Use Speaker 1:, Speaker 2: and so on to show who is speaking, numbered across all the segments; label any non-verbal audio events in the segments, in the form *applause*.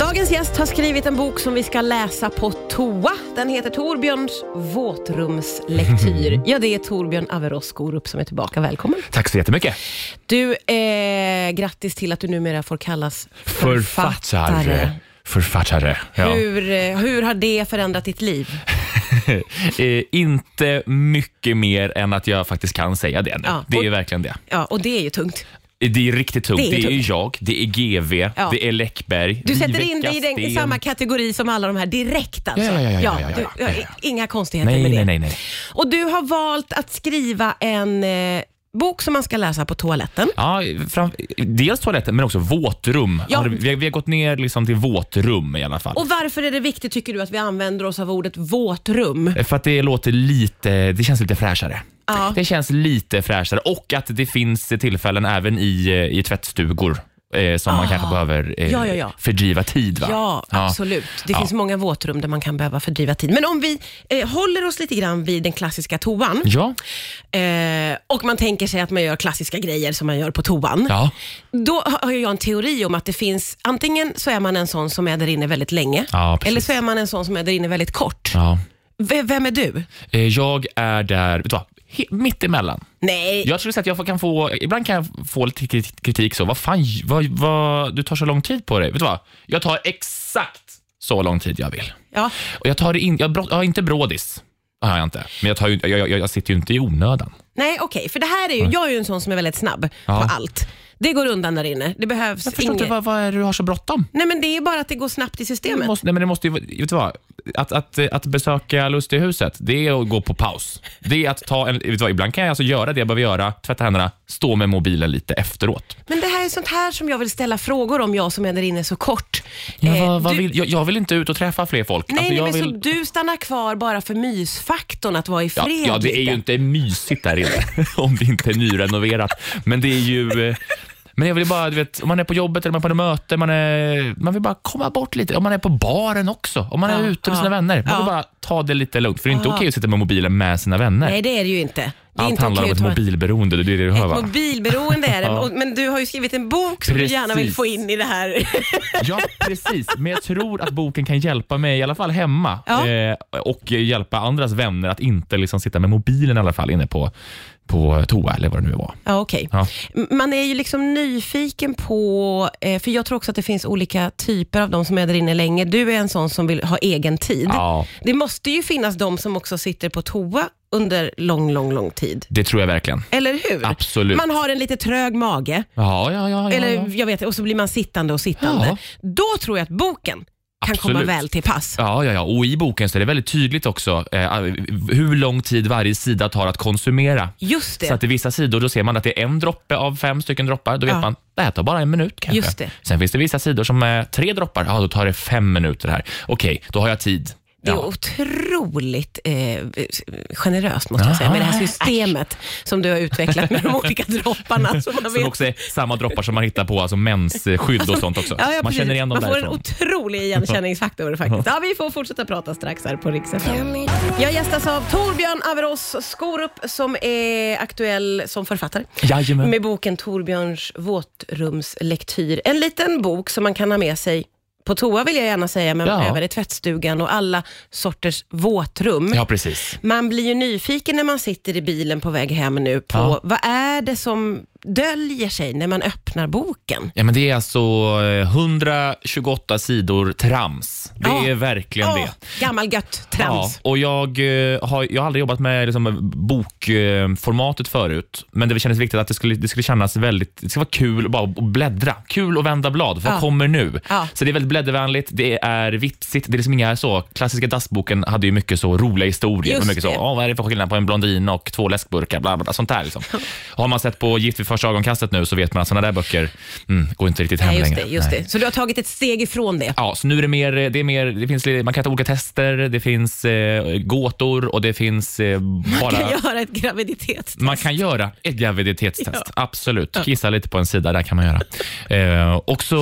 Speaker 1: Dagens gäst har skrivit en bok som vi ska läsa på toa. Den heter Torbjörns våtrumslektyr.
Speaker 2: Mm.
Speaker 1: Ja, det är Torbjörn Averås Skorup som är tillbaka. Välkommen.
Speaker 2: Tack så jättemycket.
Speaker 1: Du, eh, grattis till att du numera får kallas
Speaker 2: Författare. Författare. Ja.
Speaker 1: Hur, eh, hur har det förändrat ditt liv?
Speaker 2: Eh, inte mycket mer än att jag faktiskt kan säga det nu.
Speaker 1: Ja,
Speaker 2: Det är
Speaker 1: och-
Speaker 2: verkligen det. Eh,
Speaker 1: Ja, och det är ju tungt.
Speaker 2: Det är riktigt tungt.
Speaker 1: Det är
Speaker 2: Det är,
Speaker 1: tungt.
Speaker 2: jag, det är GV,
Speaker 1: Ja.
Speaker 2: det är Läckberg,
Speaker 1: Du sätter
Speaker 2: Viveka
Speaker 1: in dig i, den, i
Speaker 2: Sten.
Speaker 1: samma kategori som alla de här direkt alltså?
Speaker 2: Ja, ja, ja, ja, ja, ja,
Speaker 1: du-
Speaker 2: ja, ja.
Speaker 1: Inga konstigheter
Speaker 2: Nej,
Speaker 1: med det.
Speaker 2: nej, nej, nej.
Speaker 1: Och du har valt att skriva en eh, bok som man ska läsa på toaletten.
Speaker 2: Ja, fram, dels toaletten, men också våtrum.
Speaker 1: Ja.
Speaker 2: Har, vi, har, vi har gått ner liksom till våtrum i alla fall.
Speaker 1: Och varför är det viktigt tycker du att vi använder oss av ordet våtrum?
Speaker 2: Eh, För att det låter lite, det känns lite fräschare.
Speaker 1: Ja.
Speaker 2: Det känns lite fräschare och att det finns tillfällen även i, eh, i tvättstugor eh, som man kanske behöver eh,
Speaker 1: Ah. Ja, ja, ja.
Speaker 2: fördriva tid. Va?
Speaker 1: Ja, absolut. Det finns många våtrum där man kan behöva fördriva tid. Men om vi eh, håller oss lite grann vid den klassiska toan
Speaker 2: Ja,
Speaker 1: eh, och man tänker sig att man gör klassiska grejer som man gör på toan.
Speaker 2: ja.
Speaker 1: Då har har jag en teori om att det finns, antingen så är man en sån som är där inne väldigt länge,
Speaker 2: Ja, precis.
Speaker 1: eller så är man en sån som är där inne väldigt kort.
Speaker 2: ja.
Speaker 1: V- vem är du?
Speaker 2: Eh, Jag är där, vet du vad, he- mitt emellan.
Speaker 1: Nej,
Speaker 2: Jag skulle säga att jag kan få, ibland kan jag få lite kri- kritik så, vad fan, vad, vad, du tar så lång tid på dig. Vet du vad, jag tar exakt så lång tid jag vill.
Speaker 1: ja.
Speaker 2: Och jag, tar det in, jag, brå- jag har inte brådis. Det har jag inte. Men jag, tar ju, jag, jag, jag sitter ju inte i onödan.
Speaker 1: Nej okej, för det här är ju, jag är ju en sån som är väldigt snabb
Speaker 2: Ja.
Speaker 1: på allt. Det går undan där inne. Det behövs
Speaker 2: Jag förstår
Speaker 1: inget.
Speaker 2: inte, vad, vad är det du har så bråttom?
Speaker 1: Nej men det är bara att det går snabbt i
Speaker 2: Det
Speaker 1: systemet.
Speaker 2: måste, nej, men det måste ju, vara- vet du vad? Att, att, att besöka Lustighuset, det är att gå på paus. Det är att ta en, vet du vad? Ibland kan jag alltså göra det jag behöver göra, tvätta händerna, stå med mobilen lite efteråt.
Speaker 1: Men det här är sånt här som jag vill ställa frågor om, jag som är där inne så kort.
Speaker 2: Men
Speaker 1: Eh,
Speaker 2: vad, vad
Speaker 1: du,
Speaker 2: vill, jag, jag vill inte ut och träffa fler folk.
Speaker 1: Nej,
Speaker 2: Alltså,
Speaker 1: nej
Speaker 2: jag
Speaker 1: men så
Speaker 2: vill,
Speaker 1: du stannar kvar bara för mysfaktorn att vara i
Speaker 2: ja,
Speaker 1: fred
Speaker 2: ja, det är
Speaker 1: lite.
Speaker 2: ju inte mysigt där inne, *laughs* om det inte är nyrenoverat. Men det är ju... eh, Men jag vill bara, du vet, om man är på jobbet eller man är på ett möte, man, är, man vill bara komma bort lite. Om man är på baren också, om man är
Speaker 1: Ja,
Speaker 2: ute med sina
Speaker 1: ja,
Speaker 2: vänner. Man
Speaker 1: ja.
Speaker 2: vill bara ta det lite lugnt, för det är inte okej att sitta med mobilen med sina vänner.
Speaker 1: Nej, det är det ju inte. Det är
Speaker 2: Allt
Speaker 1: inte
Speaker 2: handlar om
Speaker 1: okej
Speaker 2: ett
Speaker 1: att ta-
Speaker 2: mobilberoende, det är det du hör
Speaker 1: Ett *laughs*
Speaker 2: va?
Speaker 1: mobilberoende
Speaker 2: *laughs*
Speaker 1: är det, och- men du har ju skrivit en bok som du gärna vill
Speaker 2: Precis.
Speaker 1: få in i det
Speaker 2: *laughs*
Speaker 1: här.
Speaker 2: Ja, precis. Men jag tror att boken kan hjälpa mig, i alla fall hemma,
Speaker 1: Ja.
Speaker 2: eh, och hjälpa andras vänner att inte liksom sitta med mobilen i alla fall inne på, på toa eller vad det nu var.
Speaker 1: Ja, okej.
Speaker 2: Ja.
Speaker 1: M- Man är ju liksom nyfiken på, eh, för jag tror också att det finns olika typer av de som är där inne länge. Du är en sån som vill ha egen tid.
Speaker 2: Ja,
Speaker 1: Det måste ju finnas de som också sitter på toa under lång, lång, lång tid.
Speaker 2: det tror jag verkligen.
Speaker 1: Eller hur?
Speaker 2: Absolut.
Speaker 1: Man har en lite trög mage,
Speaker 2: Ja, ja, ja. ja,
Speaker 1: eller
Speaker 2: ja.
Speaker 1: jag vet och så blir man sittande och sittande.
Speaker 2: Ja.
Speaker 1: Då tror jag att boken kan
Speaker 2: Absolut.
Speaker 1: komma väl till pass.
Speaker 2: Ja, ja, ja. Och i boken så är det väldigt tydligt också eh, hur lång tid varje sida tar att konsumera.
Speaker 1: Just det.
Speaker 2: Så att i vissa sidor då ser man att det är en droppe av fem stycken droppar. Då vet
Speaker 1: Ja.
Speaker 2: man det här tar bara en minut kanske.
Speaker 1: Just det.
Speaker 2: Sen finns det vissa sidor som är tre droppar. Ja, då tar det fem minuter här. Okej, då har jag tid.
Speaker 1: Det är
Speaker 2: Ja.
Speaker 1: otroligt eh, generöst måste jag säga, med det här systemet som du har utvecklat med
Speaker 2: *laughs*
Speaker 1: de olika dropparna. Som man
Speaker 2: Som
Speaker 1: vet.
Speaker 2: också är samma droppar som man hittar på alltså mensskydd och sånt också.
Speaker 1: Ja, ja,
Speaker 2: man
Speaker 1: precis.
Speaker 2: känner igen dem
Speaker 1: Man får en
Speaker 2: därifrån.
Speaker 1: otrolig
Speaker 2: *laughs*
Speaker 1: igenkänningsfaktor faktiskt. Ja, vi får fortsätta prata strax här på Rix FM. Jag gästas av Torbjörn Averås Skorup som är aktuell som författare.
Speaker 2: Jajamän.
Speaker 1: Med boken Torbjörns våtrumslektyr. En liten bok som man kan ha med sig på toa vill jag gärna säga, men
Speaker 2: Ja.
Speaker 1: även i tvättstugan och alla sorters våtrum.
Speaker 2: Ja, precis.
Speaker 1: Man blir ju nyfiken när man sitter i bilen på väg hem nu på
Speaker 2: Ja.
Speaker 1: vad är det som döljer sig när man öppnar boken?
Speaker 2: Ja, men det är alltså eh, 128 sidor trams. Det
Speaker 1: Ja.
Speaker 2: är verkligen
Speaker 1: Åh,
Speaker 2: det.
Speaker 1: gammal gött trams.
Speaker 2: Ja, och jag, eh, har, jag har aldrig jobbat med liksom, bokformatet förut, men det kändes viktigt att det skulle, det skulle kännas väldigt, det ska vara kul att bara att bläddra. Kul att vända blad. Vad
Speaker 1: Ja.
Speaker 2: kommer nu?
Speaker 1: Ja.
Speaker 2: Så det är väldigt bläddervänligt, det är vitsigt, det är liksom inga så, klassiska dassboken hade ju mycket så roliga historier.
Speaker 1: Just
Speaker 2: och mycket så,
Speaker 1: det.
Speaker 2: "Åh, vad är det för skillnad på en blondin och två läskburkar? Bla, bla, bla, sånt där liksom.
Speaker 1: *laughs*
Speaker 2: Och har man sett på Gift vid första ögonkastet nu så vet man att såna där böcker mm, går inte riktigt hem
Speaker 1: Nej, just
Speaker 2: längre.
Speaker 1: det, just
Speaker 2: Nej.
Speaker 1: det. Så du har tagit ett steg ifrån det.
Speaker 2: Ja, så nu är det mer, det är mer det finns, lite- man kan ta olika tester, det finns eh, gåtor och det finns eh,
Speaker 1: Kan
Speaker 2: bara...
Speaker 1: göra ett graviditet.
Speaker 2: Man kan göra ett graviditetstest, absolut. Kissa lite på en sida, där kan man göra. Eh, och så,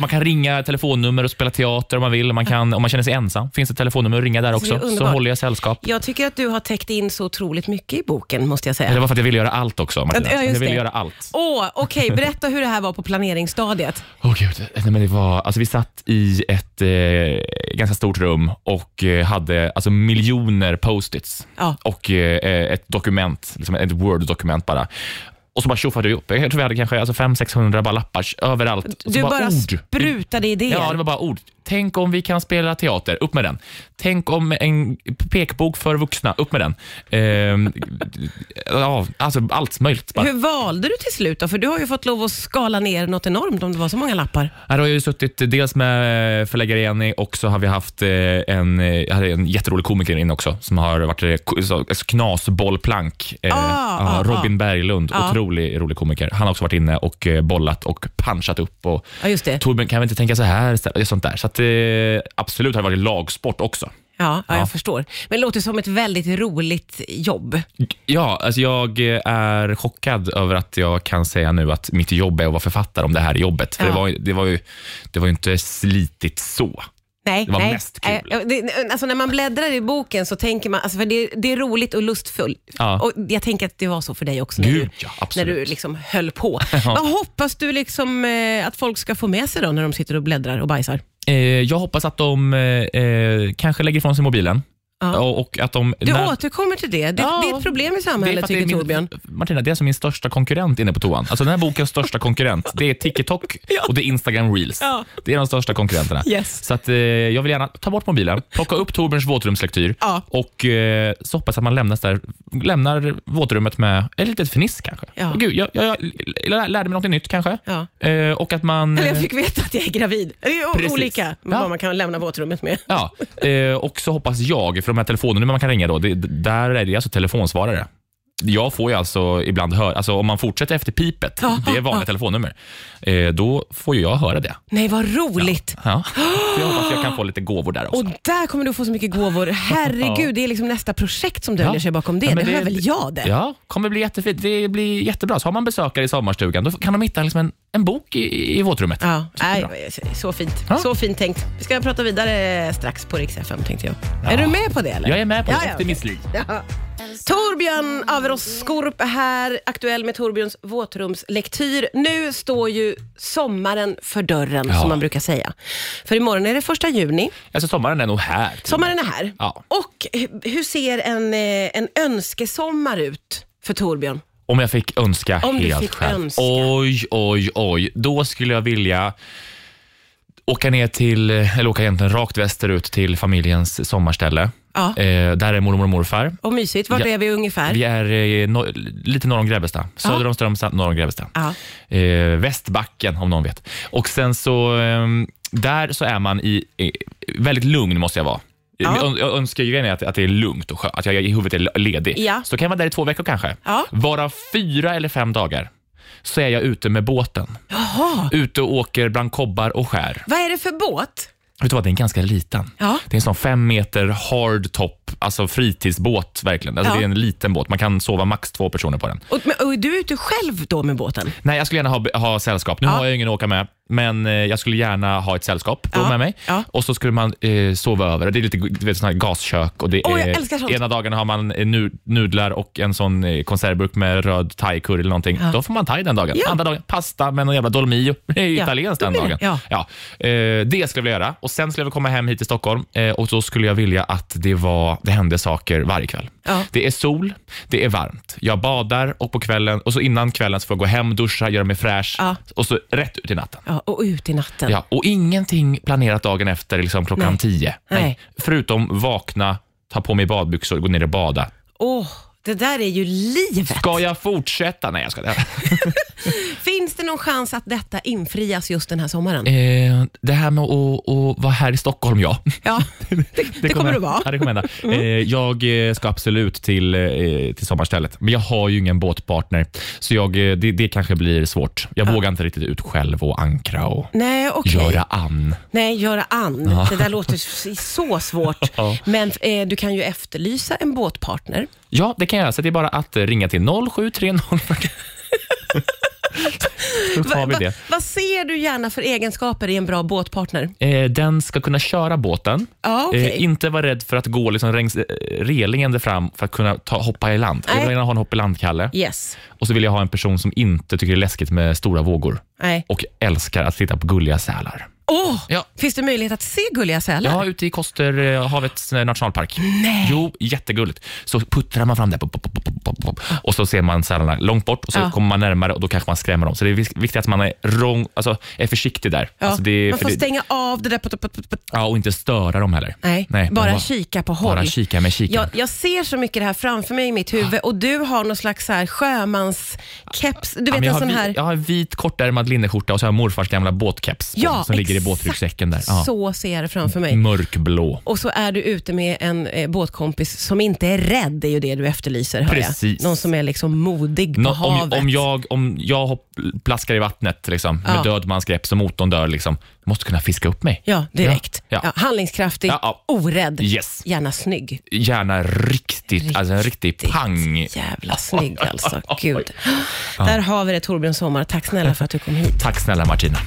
Speaker 2: man kan ringa telefonnummer och spela teater om man vill. Man kan, om man känner sig ensam finns ett telefonnummer att ringa där
Speaker 1: det är
Speaker 2: också, så
Speaker 1: underbart.
Speaker 2: håller jag sällskap.
Speaker 1: Jag tycker att du har täckt in så otroligt mycket i boken, måste jag
Speaker 2: Det
Speaker 1: säga.
Speaker 2: var för att jag ville göra allt också, Martina.
Speaker 1: Ja, just
Speaker 2: jag ville
Speaker 1: det.
Speaker 2: göra allt.
Speaker 1: Åh, okej. Berätta hur det här var på planeringsstadiet.
Speaker 2: Åh gud. Nej, men det var, alltså, vi satt i ett ett eh, ganska stort rum och eh, hade alltså, miljoner post-its
Speaker 1: Ja.
Speaker 2: och eh, ett dokument, liksom ett word-dokument bara. Och så bara tjoffade vi upp. Jag tror vi hade kanske alltså 500-600 bara lappar överallt. Och så
Speaker 1: Du bara
Speaker 2: ord.
Speaker 1: sprutade idéer.
Speaker 2: Ja, det var bara ord. Tänk om vi kan spela teater, upp med den. Tänk om en pekbok för vuxna, upp med den. Ehm, *laughs* ja, alltså allt möjligt. Bara.
Speaker 1: Hur valde du till slut då? För du har ju fått lov att skala ner något enormt om det var så många lappar.
Speaker 2: Här har jag ju suttit dels med eh, förläggare Jenny och så har vi haft eh, en, eh, jag hade en jätterolig komiker in också som har varit eh, ko- så- alltså knasbollplank. Eh,
Speaker 1: Ah,
Speaker 2: ja,
Speaker 1: ah,
Speaker 2: Robin Berglund,
Speaker 1: Ah.
Speaker 2: otrolig rolig komiker. Han har också varit inne och eh, bollat och punchat upp. Och,
Speaker 1: Ja, just det.
Speaker 2: Torbjörn, kan vi inte tänka så här istället? Sånt där. Så att, eh, absolut har det varit lagsport också.
Speaker 1: Ja, ja, jag
Speaker 2: Ja.
Speaker 1: förstår. Men det låter som ett väldigt roligt jobb.
Speaker 2: Ja, alltså jag är chockad över att jag kan säga nu att mitt jobb är att vara författare om det här jobbet. För
Speaker 1: Ja.
Speaker 2: det, var, ju- det, var ju, det var ju inte slitigt så.
Speaker 1: Nej,
Speaker 2: Det var
Speaker 1: nej.
Speaker 2: mest kul.
Speaker 1: Eh, det- Alltså när man bläddrar i boken så tänker man, alltså för det, det är roligt och lustfullt.
Speaker 2: Ja.
Speaker 1: Och jag tänker att det var så för dig också när
Speaker 2: Gud,
Speaker 1: du,
Speaker 2: ja,
Speaker 1: när
Speaker 2: absolut.
Speaker 1: du liksom höll
Speaker 2: *laughs*
Speaker 1: på. Vad hoppas du liksom, eh, att folk ska få med sig då när de sitter och bläddrar och bajsar?
Speaker 2: Eh, jag hoppas att de eh, eh, kanske lägger ifrån sig mobilen.
Speaker 1: Ja.
Speaker 2: Och, och att de,
Speaker 1: Du
Speaker 2: när-
Speaker 1: återkommer till det. Det,
Speaker 2: Ja.
Speaker 1: det är ett problem i
Speaker 2: för
Speaker 1: samhället
Speaker 2: att
Speaker 1: tycker
Speaker 2: min,
Speaker 1: Torbjörn.
Speaker 2: Martina, det är alltså min största konkurrent inne på toan. Alltså den här bokens största konkurrent, det
Speaker 1: *laughs*
Speaker 2: är TikTok och det är Instagram Reels.
Speaker 1: Ja.
Speaker 2: Det är de största konkurrenterna.
Speaker 1: Yes.
Speaker 2: Så att, eh, jag vill gärna ta bort mobilen, plocka upp Torbjörns våtrumslektyr
Speaker 1: Ja.
Speaker 2: och eh, så hoppas att man lämnas där, lämnar våtrummet med ett litet fniss kanske.
Speaker 1: Ja.
Speaker 2: Åh, Gud, jag, jag, jag lär- lärde mig något nytt kanske.
Speaker 1: Ja.
Speaker 2: Eh, och att man...
Speaker 1: Eller jag fick veta att jag är gravid. Det är o-
Speaker 2: Precis.
Speaker 1: olika
Speaker 2: Ja.
Speaker 1: vad man kan lämna våtrummet med.
Speaker 2: Ja, eh, och så hoppas jag, för de här telefonnumren man kan ringa då, det, där är det alltså telefonsvarare. Jag får ju alltså ibland höra, alltså om man fortsätter efter pipet, det är vanliga telefonnummer, eh, då får ju jag höra det.
Speaker 1: Nej, vad roligt.
Speaker 2: Ja. Så jag hoppas jag kan få lite gåvor där också.
Speaker 1: Och där kommer du få så mycket gåvor.
Speaker 2: *laughs*
Speaker 1: Herregud, det är liksom nästa projekt som döljer
Speaker 2: Ja.
Speaker 1: sig bakom det.
Speaker 2: Ja,
Speaker 1: det,
Speaker 2: men
Speaker 1: hör väl jag det?
Speaker 2: Ja, kommer bli jättefint. Det blir jättebra. Så har man besökare i sommarstugan, då kan de hitta liksom en, en bok i, i våtrummet.
Speaker 1: Ja, nej, eh, så fint.
Speaker 2: Ja.
Speaker 1: Så fint tänkt. Vi ska prata vidare strax på Rix FM tänkte jag. Är du med på det eller?
Speaker 2: Jag är med på det,
Speaker 1: Ja, ja,
Speaker 2: efter mitt liv.
Speaker 1: Ja. Torbjörn Averås Skorup är här, aktuell med Torbjörns våtrumslektyr. Nu står ju sommaren för dörren,
Speaker 2: Ja.
Speaker 1: som man brukar säga. För imorgon är det första juni.
Speaker 2: Alltså sommaren är nog här.
Speaker 1: Sommaren är här.
Speaker 2: Ja.
Speaker 1: Och hu- hur ser en, eh, en önskesommar ut för Torbjörn?
Speaker 2: Om jag fick önska
Speaker 1: Om du
Speaker 2: helt
Speaker 1: fick
Speaker 2: själv.
Speaker 1: önska.
Speaker 2: Oj, oj, oj. Då skulle jag vilja åka ner till, eller åka egentligen rakt västerut till familjens sommarställe.
Speaker 1: Ja.
Speaker 2: Eh, där är mormor och morfar.
Speaker 1: Och mysigt, vart
Speaker 2: Ja.
Speaker 1: är vi ungefär?
Speaker 2: Vi är eh, no, lite norr om Grebbestad. Söder om Strömstad, norr om Grebbestad.
Speaker 1: Ja.
Speaker 2: Eh, Västbacken om någon vet. Och sen så, ehm, där så är man i, eh, väldigt lugn måste jag vara.
Speaker 1: Ja.
Speaker 2: Jag, jag önskar ju grejen är att, att det är lugnt och skönt, att jag i huvudet är ledig.
Speaker 1: Ja.
Speaker 2: Så kan jag vara där i två veckor kanske.
Speaker 1: Ja.
Speaker 2: Varav fyra eller fem dagar så är jag ute med båten. Ute och åker bland kobbar och skär.
Speaker 1: Vad är det för båt?
Speaker 2: Vet du vad, den är ganska liten.
Speaker 1: Ja.
Speaker 2: Det är en sån fem meter hard top, alltså fritidsbåt verkligen. Alltså
Speaker 1: Ja.
Speaker 2: Det är en liten båt, man kan sova max två personer på den.
Speaker 1: Och, men- och är du ute själv då med båten?
Speaker 2: Nej, jag skulle gärna ha, ha sällskap. Nu
Speaker 1: Ja.
Speaker 2: har jag ingen att åka med, men eh, jag skulle gärna ha ett sällskap då
Speaker 1: Ja.
Speaker 2: med mig.
Speaker 1: Ja.
Speaker 2: Och så skulle man eh, sova över. Det är lite du vet, sån här gaskök. Och det
Speaker 1: Åh, jag
Speaker 2: är-
Speaker 1: älskar sånt.
Speaker 2: Ena dagen har man eh, nu, nudlar och en sån eh, konservburk med röd thai-curry eller någonting. Då får man thai den dagen.
Speaker 1: Ja.
Speaker 2: Andra dagen pasta med någon jävla dolmio. Det är ju
Speaker 1: Ja,
Speaker 2: italienskt
Speaker 1: då
Speaker 2: den
Speaker 1: blir det.
Speaker 2: dagen.
Speaker 1: Ja.
Speaker 2: Ja, eh, det skulle jag vilja göra. Och Sen skulle jag vilja komma hem hit till Stockholm eh, och då skulle jag vilja att det, var, det hände saker varje kväll.
Speaker 1: Ja.
Speaker 2: Det är sol, det är varmt. Jag badar och på kvällen och så innan kvällen så får jag gå hem, duscha, göra mig fräsch
Speaker 1: Ja.
Speaker 2: och så rätt ut i natten.
Speaker 1: Ja, och ut i natten.
Speaker 2: Ja, och ingenting planerat dagen efter liksom klockan
Speaker 1: Nej.
Speaker 2: tio.
Speaker 1: Nej.
Speaker 2: Förutom vakna, ta på mig badbyxor, gå ner och bada.
Speaker 1: Åh, det där är ju livet.
Speaker 2: Ska jag fortsätta? Nej, jag ska
Speaker 1: Finns det någon chans att detta infrias just den här sommaren?
Speaker 2: Eh, det här med att, att vara här i Stockholm, ja. *laughs*
Speaker 1: Ja, det, det kommer det vara. Mm.
Speaker 2: Ja, det kommer hända. Eh, jag eh, ska absolut till, eh, till sommarstället, men jag har ju ingen båtpartner. Så jag, eh, det, det kanske blir svårt. Jag vågar inte riktigt ut själv och ankra och
Speaker 1: Nej, okej.
Speaker 2: göra an.
Speaker 1: Nej, göra an. Det där låter s- så svårt.
Speaker 2: Ja.
Speaker 1: Men eh, du kan ju efterlysa en båtpartner.
Speaker 2: Ja, det kan jag göra. Så det är bara att eh, ringa till 0730 Så tar vi
Speaker 1: Va- va-
Speaker 2: det.
Speaker 1: vad ser du gärna för egenskaper i en bra båtpartner?
Speaker 2: Eh, den ska kunna köra båten.
Speaker 1: Ja, Ah, okej.
Speaker 2: Eh, inte vara rädd för att gå liksom rängs, eh, relingen där fram för att kunna ta, hoppa i land. Jag
Speaker 1: Nej.
Speaker 2: vill gärna ha en hopp i land-Kalle.
Speaker 1: Yes.
Speaker 2: Och så vill jag ha en person som inte tycker det är läskigt med stora vågor.
Speaker 1: Nej.
Speaker 2: och älskar att titta på gulliga sälar.
Speaker 1: Åh!
Speaker 2: Ja.
Speaker 1: Finns det möjlighet att se gulliga sälar?
Speaker 2: Ja, ute i Kosterhavets eh, nationalpark.
Speaker 1: Nej.
Speaker 2: Jo, jättegulligt. Så puttrar man fram där pop, pop, pop, pop, pop, pop. och så ser man sälarna långt bort och så
Speaker 1: Ja.
Speaker 2: kommer man närmare och då kanske man skrämmer dem. Så det är vis- viktigt att man är, rong, alltså, är försiktig där.
Speaker 1: Ja,
Speaker 2: Alltså, det är,
Speaker 1: man
Speaker 2: för
Speaker 1: får
Speaker 2: det,
Speaker 1: stänga av det där. Put, put, put, put.
Speaker 2: ja, och inte störa dem heller.
Speaker 1: Nej,
Speaker 2: man
Speaker 1: bara kika på håll.
Speaker 2: Bara kika med kikaren.
Speaker 1: Jag, jag ser så mycket det här framför mig i mitt huvud och du har någon slags så här sjömanskeps. Du vet
Speaker 2: men jag,
Speaker 1: en
Speaker 2: har
Speaker 1: sån
Speaker 2: vi-
Speaker 1: här...
Speaker 2: jag har en vit kortärmad linneskjorta och så har jag morfars gamla båtkeps på, som ligger i
Speaker 1: exakt
Speaker 2: båtryggsäcken där. Ja. Mm.
Speaker 1: Så ser jag det framför mig.
Speaker 2: Mörkblå.
Speaker 1: Och så är du ute med en eh, båtkompis som inte är rädd, det är ju det du efterlyser. Hör
Speaker 2: Precis.
Speaker 1: Jag. Någon som är liksom modig på
Speaker 2: Nå, om,
Speaker 1: havet.
Speaker 2: om jag, om jag hopp, plaskar i vattnet liksom, med
Speaker 1: Ja.
Speaker 2: död mans grepp så motorn dör, liksom, måste kunna fiska upp mig.
Speaker 1: Ja, direkt.
Speaker 2: Ja,
Speaker 1: Ja,
Speaker 2: ja.
Speaker 1: handlingskraftig,
Speaker 2: Ja, ja.
Speaker 1: orädd,
Speaker 2: Yes.
Speaker 1: gärna snygg.
Speaker 2: Gärna riktigt, alltså en riktig pang.
Speaker 1: Jävla
Speaker 2: *laughs*
Speaker 1: snygg alltså. Gud. Där har vi det Torbjörn Sommar. Tack snälla för att du kom hit.
Speaker 2: Tack snälla Martina.